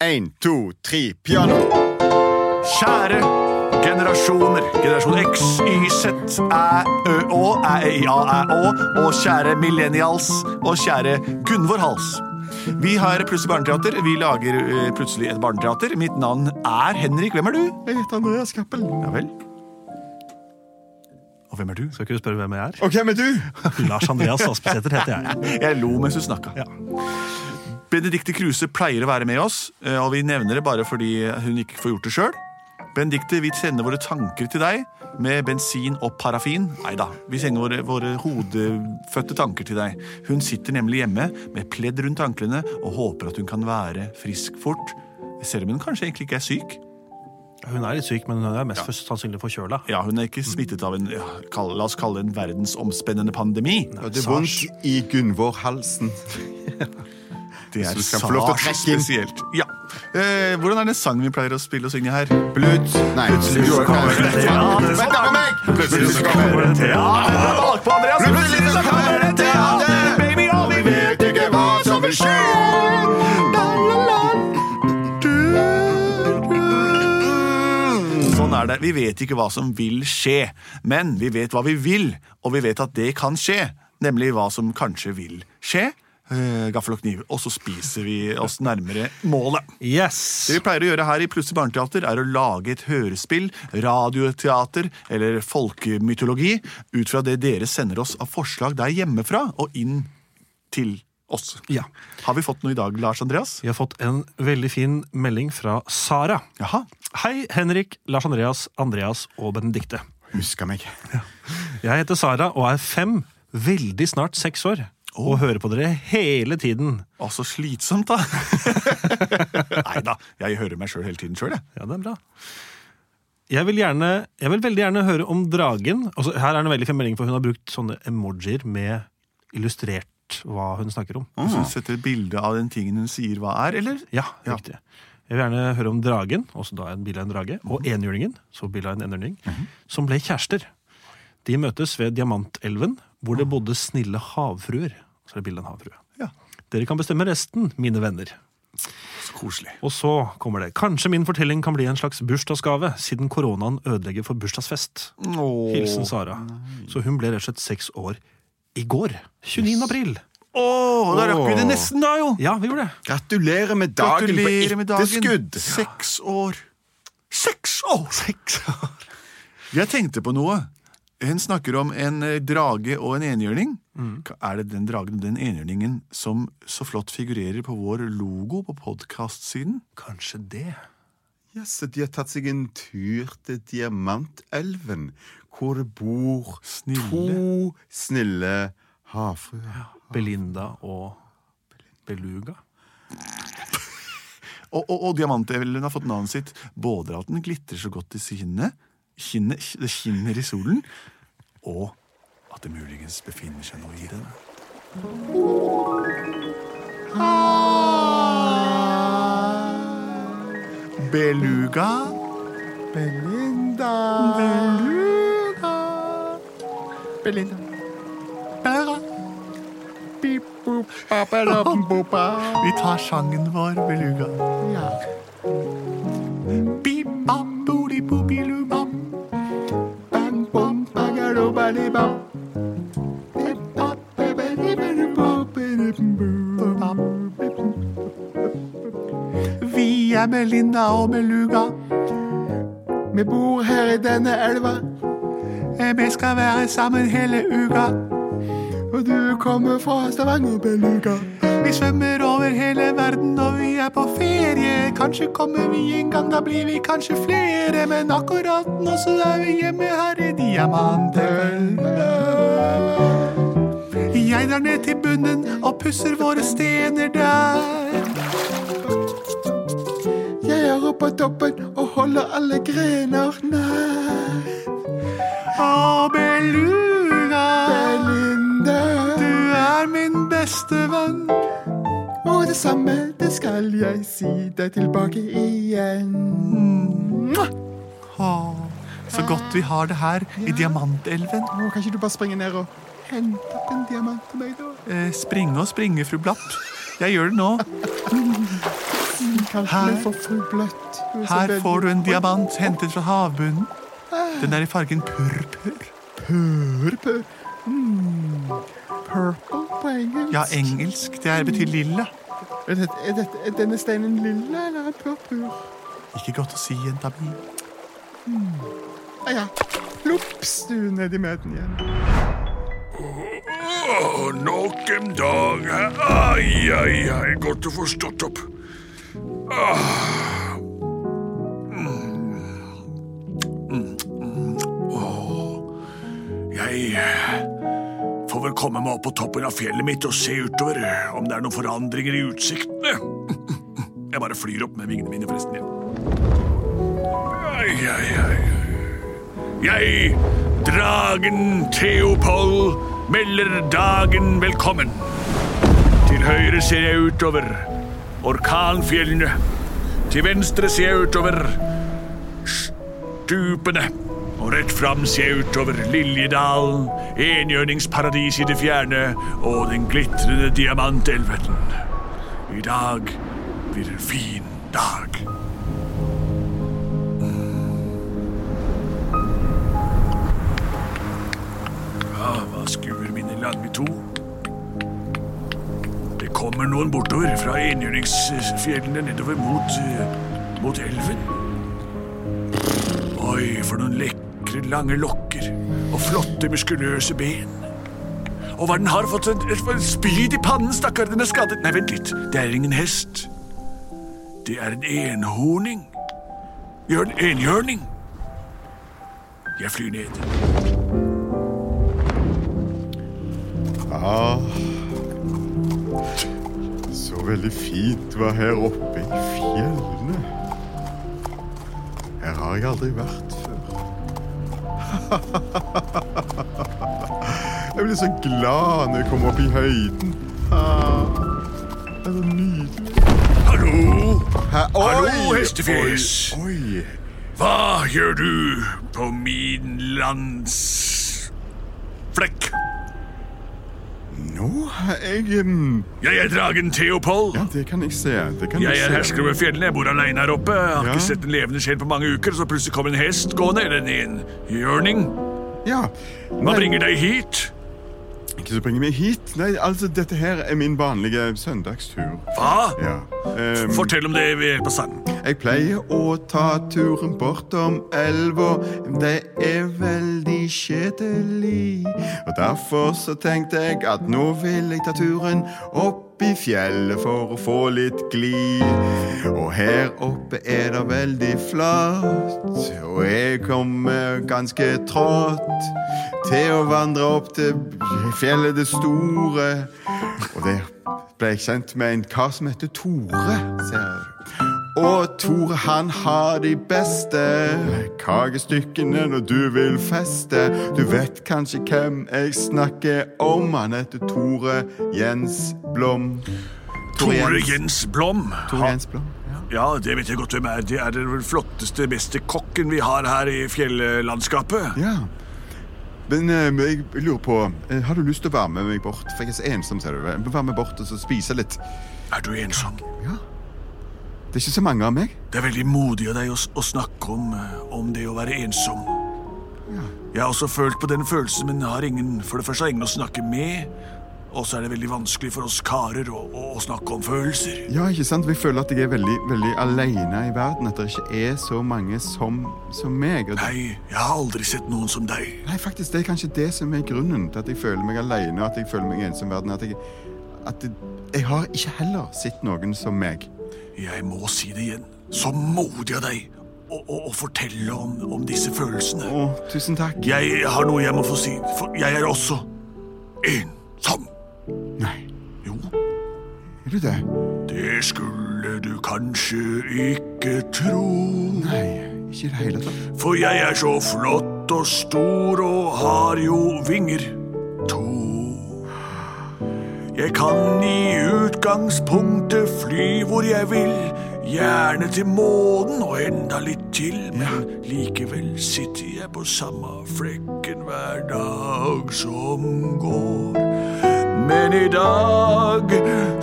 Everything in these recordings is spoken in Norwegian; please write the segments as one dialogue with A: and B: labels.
A: Én, to, tre, piano.
B: Kjære generasjoner. Generasjon X, Y, Z, Æ, Ø, Å, Æ, E, I, A, Æ, Å. Og kjære millennials. Og kjære Gunvor Hals. Vi har Plutselig barneteater. Vi lager eh, plutselig et barneteater. Mitt navn er Henrik. Hvem er du?
A: Jeg heter Andreas Cappelen.
B: Ja vel. Og hvem er du?
C: Skal ikke du spørre hvem jeg er?
A: Og hvem er du?
C: Lars Andreas Aspesæter heter jeg.
B: Jeg lo mens du snakka.
C: Ja.
B: Benedicte Kruse pleier å være med oss, eh, og vi nevner det bare fordi hun ikke får gjort det sjøl. Benedicte, vi sender våre tanker til deg med bensin og parafin. Nei da, vi sender våre, våre hodefødte tanker til deg. Hun sitter nemlig hjemme med pledd rundt anklene og håper at hun kan være frisk fort. Selv om hun kanskje egentlig ikke er syk.
C: Hun er litt syk, men hun er mest først sannsynlig forkjøla.
B: Ja, Hun er ikke smittet av en ja, kall, la oss kalle det en verdensomspennende pandemi.
A: Og det er vondt i Gunvor Halsen.
B: Det er
A: du skal få lov til å
B: sars
A: trekke inn.
B: spesielt. Ja. Eh, hvordan er den sangen vi pleier å spille og synge her?
A: Blutt. Nei,
B: Plutselig så kommer det teater.
A: Vent da på meg!
B: Plutselig så kommer det teater. Valg på Andreas.
A: Plutselig så kommer det teater.
B: Baby, og vi vet ikke hva som vil skje. La, la, la. Sånn er det. Vi vet ikke hva som vil skje, men vi vet hva vi vil, og vi vet at det kan skje. Nemlig hva som kanskje vil skje. Eh, Gaffel og kniv. Og så spiser vi oss nærmere målet.
C: Yes!
B: Det vi pleier å gjøre her i Plutselig barneteater, er å lage et hørespill, radioteater eller folkemytologi ut fra det dere sender oss av forslag der hjemmefra og inn til oss.
C: Ja.
B: Har vi fått noe i dag, Lars Andreas?
C: Vi har fått en veldig fin melding fra Sara.
B: Jaha.
C: Hei, Henrik, Lars Andreas, Andreas og Benedikte.
A: Husker meg.
C: Jeg heter Sara og er fem, veldig snart seks år, og hører på dere hele tiden.
B: Å, så slitsomt, da. Nei da, jeg hører meg sjøl hele tiden sjøl, jeg.
C: Ja, det er bra. Jeg vil, gjerne, jeg vil veldig gjerne høre om dragen. Altså, her er det en veldig fin melding, for hun har brukt sånne emojier med illustrert hva hun snakker om.
B: Hvis hun setter et bilde av den tingen hun sier hva er, eller?
C: Ja,
B: Ja.
C: riktig. Jeg vil gjerne høre om dragen, også da en bilde av en drage,
B: Mhm.
C: og enhjulingen, så bilde av en enhjulning, som ble kjærester. De møtes ved Diamantelven, hvor det bodde snille havfruer. Så er det bilde av en havfrue.
B: Ah. Ja.
C: Dere kan bestemme resten, mine venner.
B: Så koselig.
C: Og så kommer det. Kanskje min fortelling kan bli en slags bursdagsgave, siden koronaen ødelegger for bursdagsfest.
B: Åh.
C: Hilsen Sara. Så hun ble rett og slett seks år i går. 29. april.
B: Åh, da rakk vi det
A: Åh.
B: nesten, da, jo!
C: Ja, vi gjorde det.
A: Gratulerer med dagen
B: Gratulerer med
A: på
B: dagen.
A: etterskudd.
B: Seks år. Seks år! Seks år. Jeg tenkte på noe. Hun snakker om en eh, drage og en enhjørning. Er det den dragen og den enhjørningen som så flott figurerer på vår logo på podkastsiden?
C: Kanskje det.
A: Yes, de har tatt seg en tur til Diamantelven, hvor det bor
B: Snille.
A: to snille havfruer.
C: Belinda og Beluga.
B: Og, og, og diamantevelen har fått navnet sitt både av at den glitrer så godt i skinnet, skinnet det skinner i solen, og at det muligens befinner seg noe i den. Beluga.
A: Belinda
B: Beluga.
A: Belinda.
B: Beluga. Vi tar sangen vår, Beluga. Bip-bap-bodi-bobilubap.
A: vi er Melinda og Beluga. Vi bor her i denne elva. Vi skal være sammen hele uka. Og du kommer fra Stavanger, Beluga. Vi svømmer over hele verden, og vi er på ferie. Kanskje kommer vi en gang, da blir vi kanskje flere. Men akkurat nå så er vi hjemme her i Diamantelven. Jeg drar ned til bunnen og pusser våre stener der. Jeg er oppe på toppen og holder alle grener nær. Å, Beluga. Belinda. Du er min beste venn. Og det samme, det skal jeg si deg tilbake igjen.
B: Åh, så godt vi har det her i Diamantelven.
A: Å, kan ikke du bare springe ned og hente opp en diamant til meg, da?
B: Eh, springe og springe, fru Blapp. Jeg gjør det nå.
A: Kalt
B: Her.
A: meg for fru Bløtt. Du er så
B: Her
A: veldig-
B: får du en diamant hentet fra havbunnen. Den er i fargen purpur.
A: Purple. Mm. Purple på engelsk.
B: Ja, engelsk. Det er betyr lilla.
A: Er, dette, er, dette, er denne steinen lilla eller er den purpur?
B: Ikke godt å si, jenta mi.
A: Ah, ja. Lops, du er nedi med den igjen.
D: Åh, nok en dag. Ai, ai, ai. Godt å få stått opp. Ah. Mm. Mm. Åh. Jeg eh, får vel komme meg opp på toppen av fjellet mitt og se utover eh, om det er noen forandringer i utsiktene. Jeg bare flyr opp med vingene mine, forresten. jeg. Ai, ai, ai. Jeg, dragen Theopold, melder dagen velkommen. Til høyre ser jeg utover orkanfjellene. Til venstre ser jeg utover stupene. Og rett fram ser jeg utover Liljedalen, enhjørningsparadis i det fjerne og den glitrende diamantelven. I dag blir en fin dag. Ja, hva skuer mine land i to? Det kommer noen bortover fra enhjørningsfjellene nedover mot, eh, mot elven. Oi, for noen lekre, lange lokker og flotte, muskuløse ben. Og hva den har fått en, et, et spyd i pannen, stakkar, den er skadet. Nei, vent litt, det er ingen hest. Det er en enhorning. Gjør en enhjørning. Jeg flyr ned.
E: Ah. Så veldig fint å være her oppe i fjellene. Her har jeg aldri vært før. Jeg blir så glad når jeg kommer opp i høyden. Ah, det er så nydelig.
D: Hallo!
E: Hæ? Oi!
D: Hallo, hestefjes.
E: Oi, oi.
D: Hva gjør du på min landsflekk?
E: Nå har jeg em,
D: Jeg er dragen Theopold.
E: Ja, det kan jeg se. Det kan
D: Jeg
E: jeg
D: er
E: se.
D: hersker over fjellene, jeg bor aleine her oppe. Jeg har
E: Ja.
D: ikke sett en levende sjel på mange uker, så plutselig kommer en hest gående, eller en enhjørning.
E: Ja.
D: Hva
E: Nei,
D: bringer deg hit?
E: Ikke så bringer meg hit. Nei, altså, dette her er min vanlige søndagstur.
D: Hva?
E: Ja. ehm,
D: Fortell om det ved hjelp av sang.
E: Jeg pleier å ta turen bortom elva. Det er veldig kjedelig. Og derfor så tenkte jeg at nå vil jeg ta turen opp i fjellet for å få litt glid. Og her oppe er det veldig flatt. Og jeg kommer ganske trått til å vandre opp til fjellet det store. Og der ble jeg kjent med en kar som heter Tore. ser du. Og Tore han har de beste kakestykkene når du vil feste. Du vet kanskje hvem jeg snakker om. Han heter Tore Jens Blom.
D: Tore Jens Blom.
E: Tore Jens Blom.
D: Ja, det vet jeg godt hvem er. Det er den flotteste, beste kokken vi har her i fjellandskapet.
E: Ja. Men eh, jeg lurer på eh, Har du lyst til å være med meg bort? For jeg er så ensom, ser du. Vær med bort og så spise litt.
D: Er du ensom?
E: Det er ikke så mange av meg.
D: Det er veldig modig av deg å, s- å snakke om, eh, om det å være ensom. Jeg har også følt på den følelsen, men har ingen, for det første har ingen å snakke med. Og så er det veldig vanskelig for oss karer å, å, å snakke om følelser.
E: Ja, ikke sant? Vi føler at jeg er veldig, veldig alene i verden. At det ikke er så mange som, som meg. Og det,
D: Nei, jeg har aldri sett noen som deg.
E: nei, faktisk, det er kanskje det som er grunnen til at jeg føler meg alene og at jeg føler meg ensom i verden. At jeg, at jeg, jeg har ikke heller sett noen som meg.
D: Jeg må si det igjen. Så modig av deg å, å, å fortelle om, om disse følelsene.
E: Å, tusen takk.
D: Jeg har noe jeg må få si, for jeg er også ensom.
E: Nei,
D: Jo,
E: er du det?
D: det skulle du kanskje ikke tro.
E: Nei, ikke i det hele tatt.
D: For jeg er så flott og stor og har jo vinger to. Jeg kan i utgangspunktet fly hvor jeg vil. Gjerne til månen og enda litt til, men likevel sitter jeg på samme flekken hver dag som går. Men i dag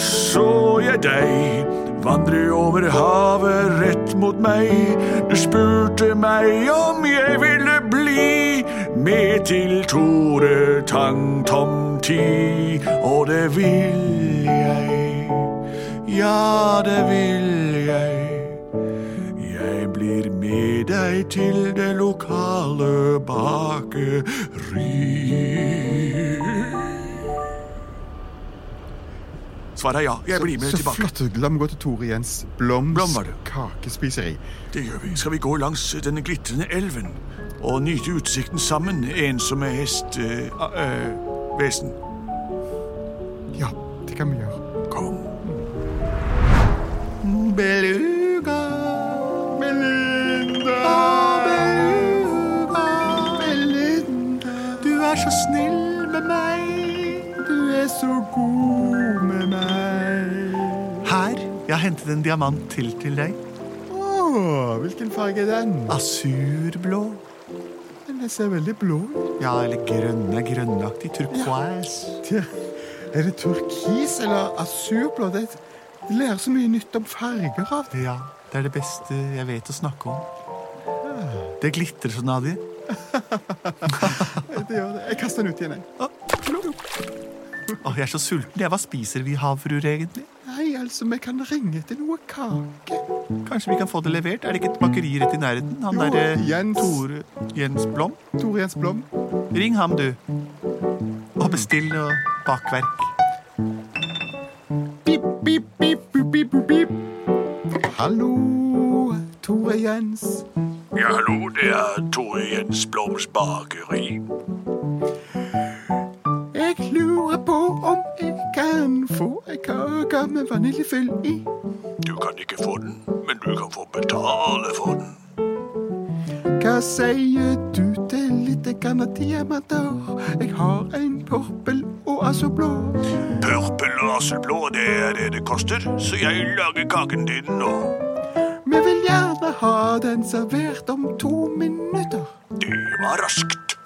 D: så jeg deg vandre over havet rett mot meg. Du spurte meg om jeg ville bli med til Tore Tang Tom Ti, og det vil jeg. Ja, det vil jeg. Jeg blir med deg til det lokale bakeri. Svaret er ja. Jeg blir med
E: så
D: tilbake.
E: flott. La meg gå til Tore Jens Bloms
D: Blom var det.
E: kakespiseri.
D: Det gjør vi. Skal vi gå langs denne glitrende elven og nyte utsikten sammen, ensomme hest... eh, eh, vesen.
E: Ja, det kan vi gjøre.
D: Kom.
E: Beluga. Belinda. Beluga. Belinda. Du er så snill med meg. Du er så god med meg.
B: Her, jeg har hentet en diamant til til deg.
E: Å, hvilken farge er den?
B: Asurblå.
E: Den ser veldig blå ut.
B: Ja, eller grønne, grønnaktig. Turquoise.
E: Det- Er det turkis eller asurblå? Det jeg lærer så mye nytt om farger av det.
B: Ja, det er det beste jeg vet å snakke om. Det glitrer så Nadir.
E: det, gjør det. Jeg kaster den ut igjen, jeg.
B: Åh, jeg er så sulten. Jeg, hva spiser vi havfruer egentlig?
E: Nei, altså, vi kan ringe til noe kake.
B: Kanskje vi kan få det levert? Er det ikke et bakeri rett i nærheten? Han
E: Jo,
B: derre
E: Jens.
B: Tore Jens Blom?
E: Tore Jens Blom.
B: Ring ham, du. Og bestill noe bakverk.
E: Pip, pip, pip, pip, pip, pip. Hallo, Tore Jens.
D: Ja, hallo, det er Tore Jens Bloms bakeri.
E: Jeg lurer på om jeg kan få ei kake med vaniljefyll i.
D: Du kan ikke få den, men du kan få betale for den.
E: Hva sier du til litt grann diamanter? Jeg har en purpel og altså blå.
D: Purple og aselblå, det er det det koster, så jeg lager kaken din nå.
E: Vi vil gjerne ha den servert om to minutter.
D: Det var raskt.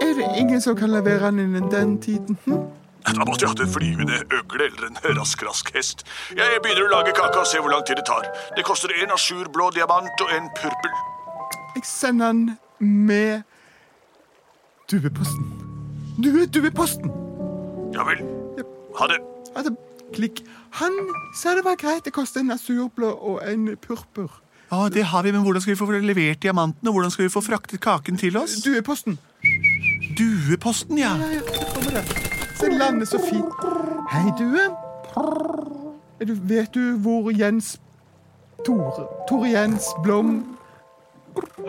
E: Er det ingen som kan levere den innen den tiden? Hm?
D: Da måtte jeg hatt en flyvende øgle eller en rask-rask hest. Jeg begynner å lage kaka og se hvor lang tid det tar. Det koster en asurblå diamant og en purpel.
E: Jeg sender den med dueposten. Due, dueposten!
D: Ja vel. Ha det.
E: Altså, klikk. Han sa det var greit. Det koster en asurblå og en purpur.
B: Ja, det har vi, men hvordan skal vi få levert diamantene? Og hvordan skal vi få fraktet kaken til oss?
E: Dueposten.
B: Dueposten, ja.
E: Ja, ja, det kommer det. Se, landet så fint. Hei, due. Er du, vet du hvor Jens Tore Tore Jens Blom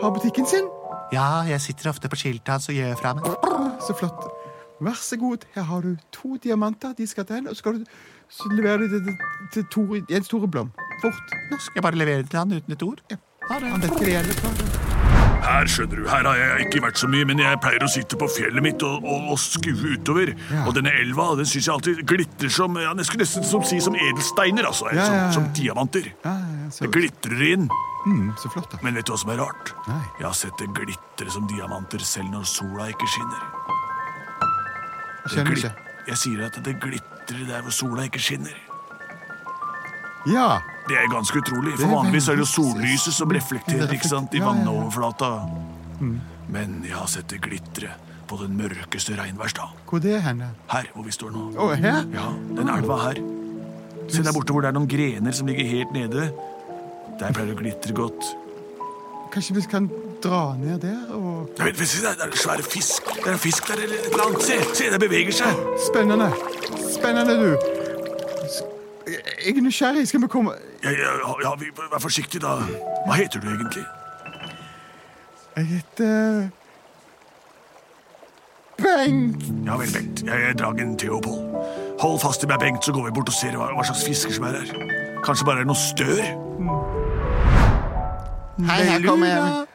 E: har butikken sin?
B: Ja, jeg sitter ofte på skiltet hans og gjør fra meg.
E: Så flott. Vær så god, her har du to diamanter. De skal til henne, og så, skal du, så leverer du det til- til Tore, Jens Tore Blom. Fort. Nå
B: Skal jeg bare levere det til han uten et ord?
E: har du han vet hva det gjelder.
D: Her skjønner du, her har jeg ikke vært så mye, men jeg pleier å sitte på fjellet mitt og, og, og skue utover. Og denne elva den syns jeg alltid glitrer som ja, jeg skulle nesten som si som edelsteiner, altså. eller
E: Ja, ja, ja.
D: Som, som diamanter.
E: Ja, ja, så,
D: Det glitrer inn.
E: mm, så flott, da.
D: Men vet du hva som er rart?
E: Nei.
D: Jeg har sett det glitre som diamanter selv når sola ikke skinner.
E: Jeg
D: Det
E: skjønner
D: glit-
E: ikke.
D: Jeg sier at det glitrer der hvor sola ikke skinner.
E: Ja.
D: Det er ganske utrolig,
E: Det
D: for
E: er
D: vanligvis er det jo
E: veldig-
D: sollyset som reflekterer ikke sant, i
E: Ja, ja, ja. Mm.
D: vannoverflata. Men jeg har sett det glitre på den mørkeste regnværsdag.
A: Hvor det er henne?
D: Her hvor vi står nå.
A: Å, her?
D: Ja, den elva her. Se der borte hvor det er noen grener som ligger helt nede. Der pleier det å glitre godt.
A: Kanskje vi kan dra ned der og
D: Vent, vent, se der, der er det svære fisk. Det er en fisk der eller et eller annet. Se, se, det beveger seg.
A: Spennende. Spennende, du. S- Jeg er nysgjerrig. Skal vi komme
D: Ja, ja, ja vi, vær forsiktig da. Hva heter du egentlig?
A: Jeg heter Bengt.
D: Ja vel, Bengt. Jeg er dragen Theopold. Hold fast i meg, Bengt, så går vi bort og ser hva, hva slags fisker som er her. Kanskje bare er det noe stør?
A: Hei,
E: her kommer jeg.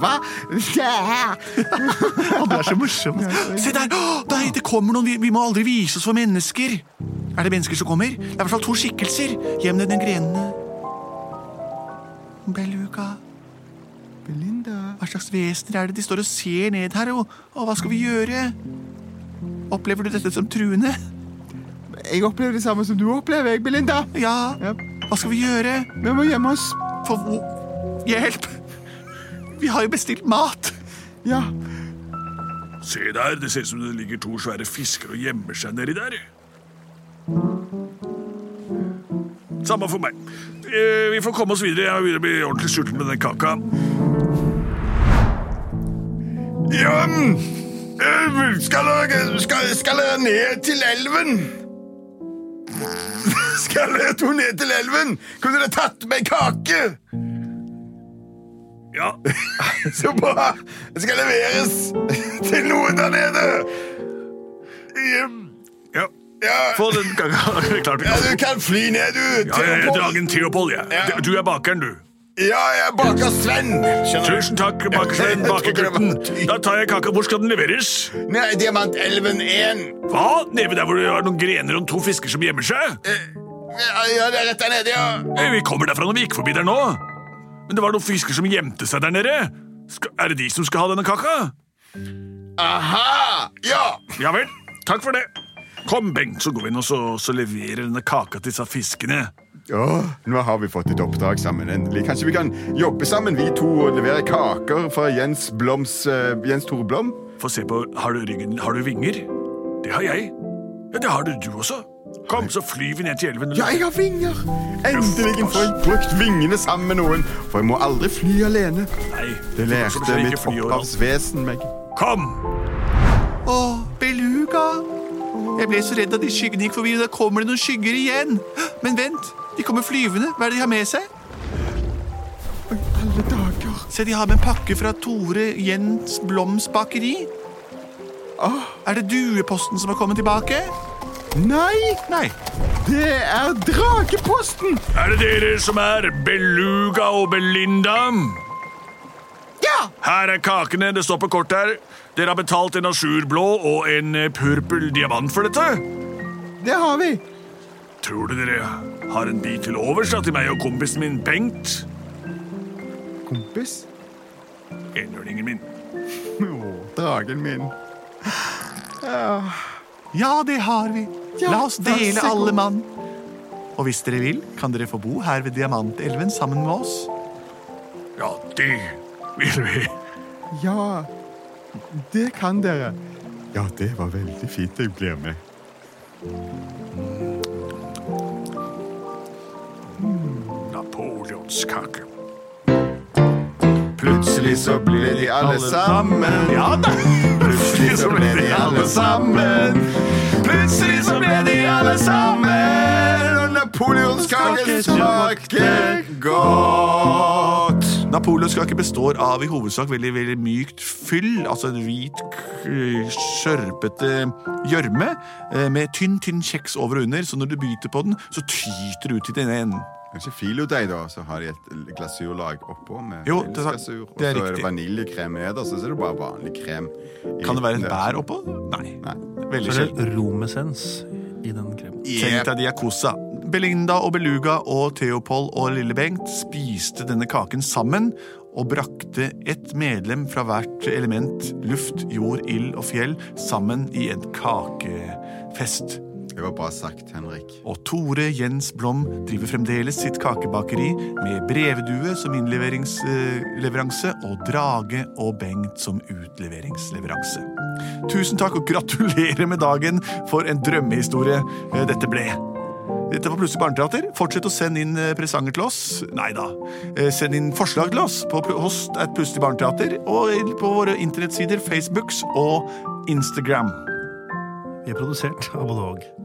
A: Hva? Det er her.
B: Å, det er så morsomt.
D: Se der! Å, Nei, det kommer noen. Vi, vi må aldri vise oss for mennesker. Er det mennesker som kommer? Det er i hvert fall to skikkelser. Gjem ned den grenene. Beluga,
A: Belinda.
D: hva slags vesener er det de står og ser ned her, og, og hva skal vi gjøre? Opplever du dette som truende?
A: Jeg opplever det samme som du opplever, jeg, Belinda.
D: Ja.
A: Ja.
D: Hva skal vi gjøre?
A: Vi må gjemme oss.
D: For hvor Hjelp! Vi har jo bestilt mat.
A: Ja.
D: Se der, det ser ut som det ligger to svære fisker og gjemmer seg nedi der. Samme for meg. Eh, Vi får komme oss videre. Jeg begynner å bli ordentlig sulten med den kaka.
E: Ja, mm, eh, skal dere, skal, skal dere ned til elven? Skal dere to ned til elven? Kunne dere tatt med kake?
D: Ja,
E: Så bra! Det skal leveres til noen der nede. Ehm,
D: ja.
E: Ja,
D: Få den kaka. Klart vi
E: ja
D: kan.
E: du kan fly ned, du.
D: Ja, jeg er
E: Theopold.
D: Eh, dragen Theopold, jeg.
E: Ja.
D: Du er bakeren, du.
E: Ja, jeg baker Sven. Skjønner du?
D: Tusen takk, bakersvenn, bakegutten. Da tar jeg kaka. Hvor skal den leveres?
E: Nei, Diamantelven 1.
D: Hva? Nede der hvor det er noen grener og to fisker som gjemmer seg?
E: Eh, Ja, ja, det er rett der nede, ja.
D: Hey, vi kommer derfra når vi gikk forbi der nå. Men det var noen fisker som gjemte seg der nede. Skal, er det de som skal ha denne kaka?
E: Aha! Ja!
D: Ja vel. Takk for det. Kom, Bengt, så går vi inn og så, så leverer denne kaka til disse fiskene.
E: Åh, nå har vi fått et oppdrag sammen endelig. Kanskje vi kan jobbe sammen, vi to, og levere kaker fra Jens Bloms eh, Jens Tore Blom?
D: Få se på Har du ryggen Har du vinger? Det har jeg. Ja, Det har du, du også. Kom, så flyr vi ned til elven.
E: Ja, jeg har vinger! Endelig får jeg brukt vingene sammen med noen, for jeg må aldri fly alene.
D: Nei,
E: Det
D: så
E: lærte
D: skal vi ikke
E: mitt
D: fly overalt.
E: opphavsvesen meg.
D: Kom!
B: Å, beluga! Jeg ble så redd da de skyggene gikk forbi. og Da kommer det noen skygger igjen. Men vent, de kommer flyvende. Hva er det de har med seg?
A: Alle dager.
B: Se, de har med en pakke fra Tore Jens Bloms bakeri. Er det dueposten som har kommet tilbake?
A: Nei,
B: Nei.
A: det er Drageposten!
D: Er det dere som er Beluga og Belinda?
A: Ja!
D: Her er kakene, det står på kortet her. Dere har betalt en asurblå og en eh, purpel diamant for dette.
A: Det har vi.
D: Tror du dere har en bit til overs da, til meg og kompisen min Bengt?
A: Kompis.
D: Enhjørningen min.
E: Åh, dragen min.
B: Ja, det har vi.
A: Ja,
B: La oss
A: vær
B: dele
A: så god.
B: alle mann. Og hvis dere vil, kan dere få bo her ved Diamantelven sammen med oss.
D: Ja, det vil vi.
A: Ja, det kan dere.
E: Ja, det var veldig fint jeg blir med.
D: Napoleonskake.
E: Plutselig så ble de alle sammen.
D: Ja da!
E: Plutselig så ble de alle sammen. Plutselig så ble de alle sammen. Og napoleonskaken smakte godt.
B: Napoleonskake består av i hovedsak veldig veldig mykt fyll, altså en hvit, k- skjørpete gjørme eh, med tynn tynn kjeks over og under, så når du biter på den, så tyter det ut i den ene enden.
E: Kanskje filodeig, da, så har de et glasurlag oppå med
B: Jo, det er sant.
E: glasur. Og
B: Det er
E: så er det
B: riktig.
E: vaniljekrem nederst, og så er det bare vanlig krem. i
B: Kan det være
E: midten
B: et
E: der.
B: bær oppå? Nei.
E: Nei.
B: Veldig
C: Så
B: sjelden.
C: er det romessens i den kremen.
B: Tenk deg de yakuza. Belinda og Beluga og Theopold og Lille Bengt spiste denne kaken sammen og brakte ett medlem fra hvert element, luft, jord, ild og fjell, sammen i en kakefest.
E: Det var bra sagt, Henrik.
B: Og Tore Jens Blom driver fremdeles sitt kakebakeri med brevdue som innleveringsleveranse og Drage og Bengt som utleveringsleveranse. Tusen takk og gratulerer med dagen for en drømmehistorie eh, dette ble. Dette var Plutselig barneteater. Fortsett å sende inn eh, presanger til oss. Nei da. Eh, Send inn forslag til oss på pl- host at Plutselig barneteater og i- på våre internettsider Facebooks og Instagram.
C: Vi er produsert av både og.